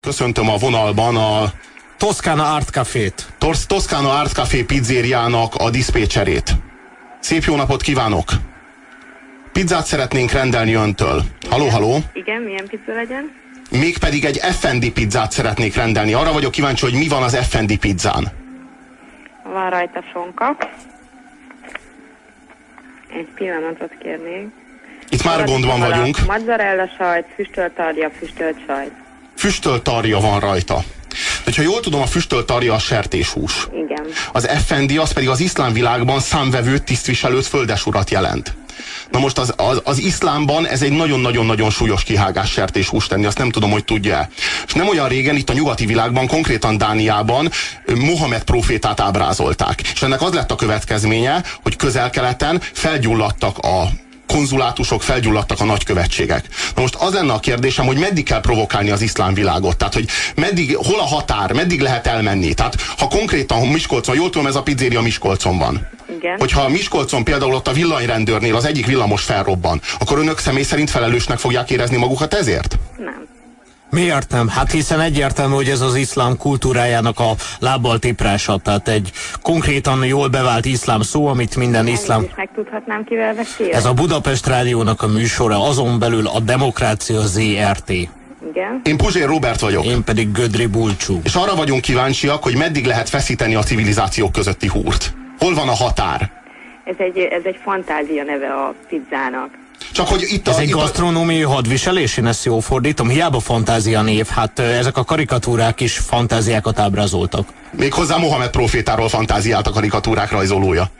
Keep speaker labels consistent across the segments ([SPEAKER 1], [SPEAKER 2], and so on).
[SPEAKER 1] Köszöntöm a vonalban a
[SPEAKER 2] Toszkána Art Cafét.
[SPEAKER 1] Tor- Toszkána Art Café pizzériának a diszpécserét. Szép jó napot kívánok! Pizzát szeretnénk rendelni öntől. Haló, haló!
[SPEAKER 3] Igen, milyen pizza legyen?
[SPEAKER 1] Mégpedig egy Effendi pizzát szeretnék rendelni. Arra vagyok kíváncsi, hogy mi van az Effendi pizzán.
[SPEAKER 3] Van rajta sonka. Egy pillanatot kérnék.
[SPEAKER 1] Itt már gondban
[SPEAKER 3] Alatt
[SPEAKER 1] vagyunk.
[SPEAKER 3] Mozzarella sajt, füstölt tarja, füstölt sajt.
[SPEAKER 1] Füstölt tarja van rajta. De ha jól tudom, a füstölt tarja a sertéshús.
[SPEAKER 3] Igen.
[SPEAKER 1] Az effendi az pedig az iszlám világban számvevőt, tisztviselőt, földesurat jelent. Na most az, az, az iszlámban ez egy nagyon-nagyon-nagyon súlyos kihágás sertés húst tenni, azt nem tudom, hogy tudja És nem olyan régen itt a nyugati világban, konkrétan Dániában ö, Mohamed profétát ábrázolták. És ennek az lett a következménye, hogy közel-keleten felgyulladtak a konzulátusok, felgyulladtak a nagykövetségek. Na most az lenne a kérdésem, hogy meddig kell provokálni az iszlám világot? Tehát, hogy meddig, hol a határ, meddig lehet elmenni? Tehát, ha konkrétan Miskolcon, jól tudom, ez a pizzéria Miskolcon van.
[SPEAKER 3] Igen.
[SPEAKER 1] Hogyha Miskolcon például ott a villanyrendőrnél az egyik villamos felrobban, akkor önök személy szerint felelősnek fogják érezni magukat ezért?
[SPEAKER 3] Nem.
[SPEAKER 2] Miért nem? Hát hiszen egyértelmű, hogy ez az iszlám kultúrájának a lábbal tiprása, tehát egy konkrétan jól bevált iszlám szó, amit minden iszlám...
[SPEAKER 3] Elnézést, megtudhatnám, kivel beszél?
[SPEAKER 2] Ez a Budapest Rádiónak a műsora, azon belül a Demokrácia ZRT.
[SPEAKER 3] Igen.
[SPEAKER 1] Én Puzsér Robert vagyok.
[SPEAKER 2] Én pedig Gödri Bulcsú.
[SPEAKER 1] És arra vagyunk kíváncsiak, hogy meddig lehet feszíteni a civilizációk közötti húrt. Hol van a határ?
[SPEAKER 3] Ez egy, ez egy fantázia neve a pizzának.
[SPEAKER 1] Csak hogy itt a,
[SPEAKER 2] Ez egy
[SPEAKER 1] itt a,
[SPEAKER 2] gasztronómiai hadviselés, én ezt jól fordítom. Hiába fantázia név, hát ö, ezek a karikatúrák is fantáziákat ábrázoltak.
[SPEAKER 1] Még hozzá Mohamed profétáról fantáziált a karikatúrák rajzolója.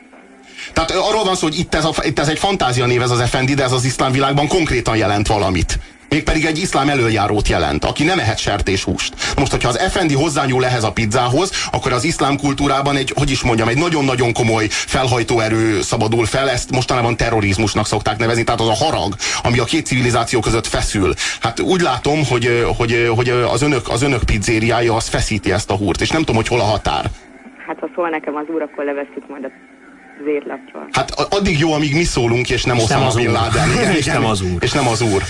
[SPEAKER 1] Tehát ö, arról van szó, hogy itt ez, a, itt ez egy fantázia név ez az effendi, de ez az iszlám világban konkrétan jelent valamit. Mégpedig egy iszlám előjárót jelent, aki nem ehet sertéshúst. Na Most, hogyha az effendi hozzányúl ehhez a pizzához, akkor az iszlám kultúrában egy, hogy is mondjam, egy nagyon-nagyon komoly felhajtó erő szabadul fel, ezt mostanában terrorizmusnak szokták nevezni, tehát az a harag, ami a két civilizáció között feszül. Hát úgy látom, hogy, ö, hogy, ö, hogy ö, az önök, az önök pizzériája az feszíti ezt a húrt, és nem tudom, hogy hol a határ.
[SPEAKER 3] Hát ha szól nekem az úr, akkor leveszik majd a zérlapról.
[SPEAKER 1] Hát a- addig jó, amíg mi szólunk, és nem
[SPEAKER 2] És nem
[SPEAKER 1] Osama
[SPEAKER 2] az
[SPEAKER 1] Bin
[SPEAKER 2] úr.
[SPEAKER 1] Laden. Igen,
[SPEAKER 2] És nem az úr.
[SPEAKER 1] És nem az úr.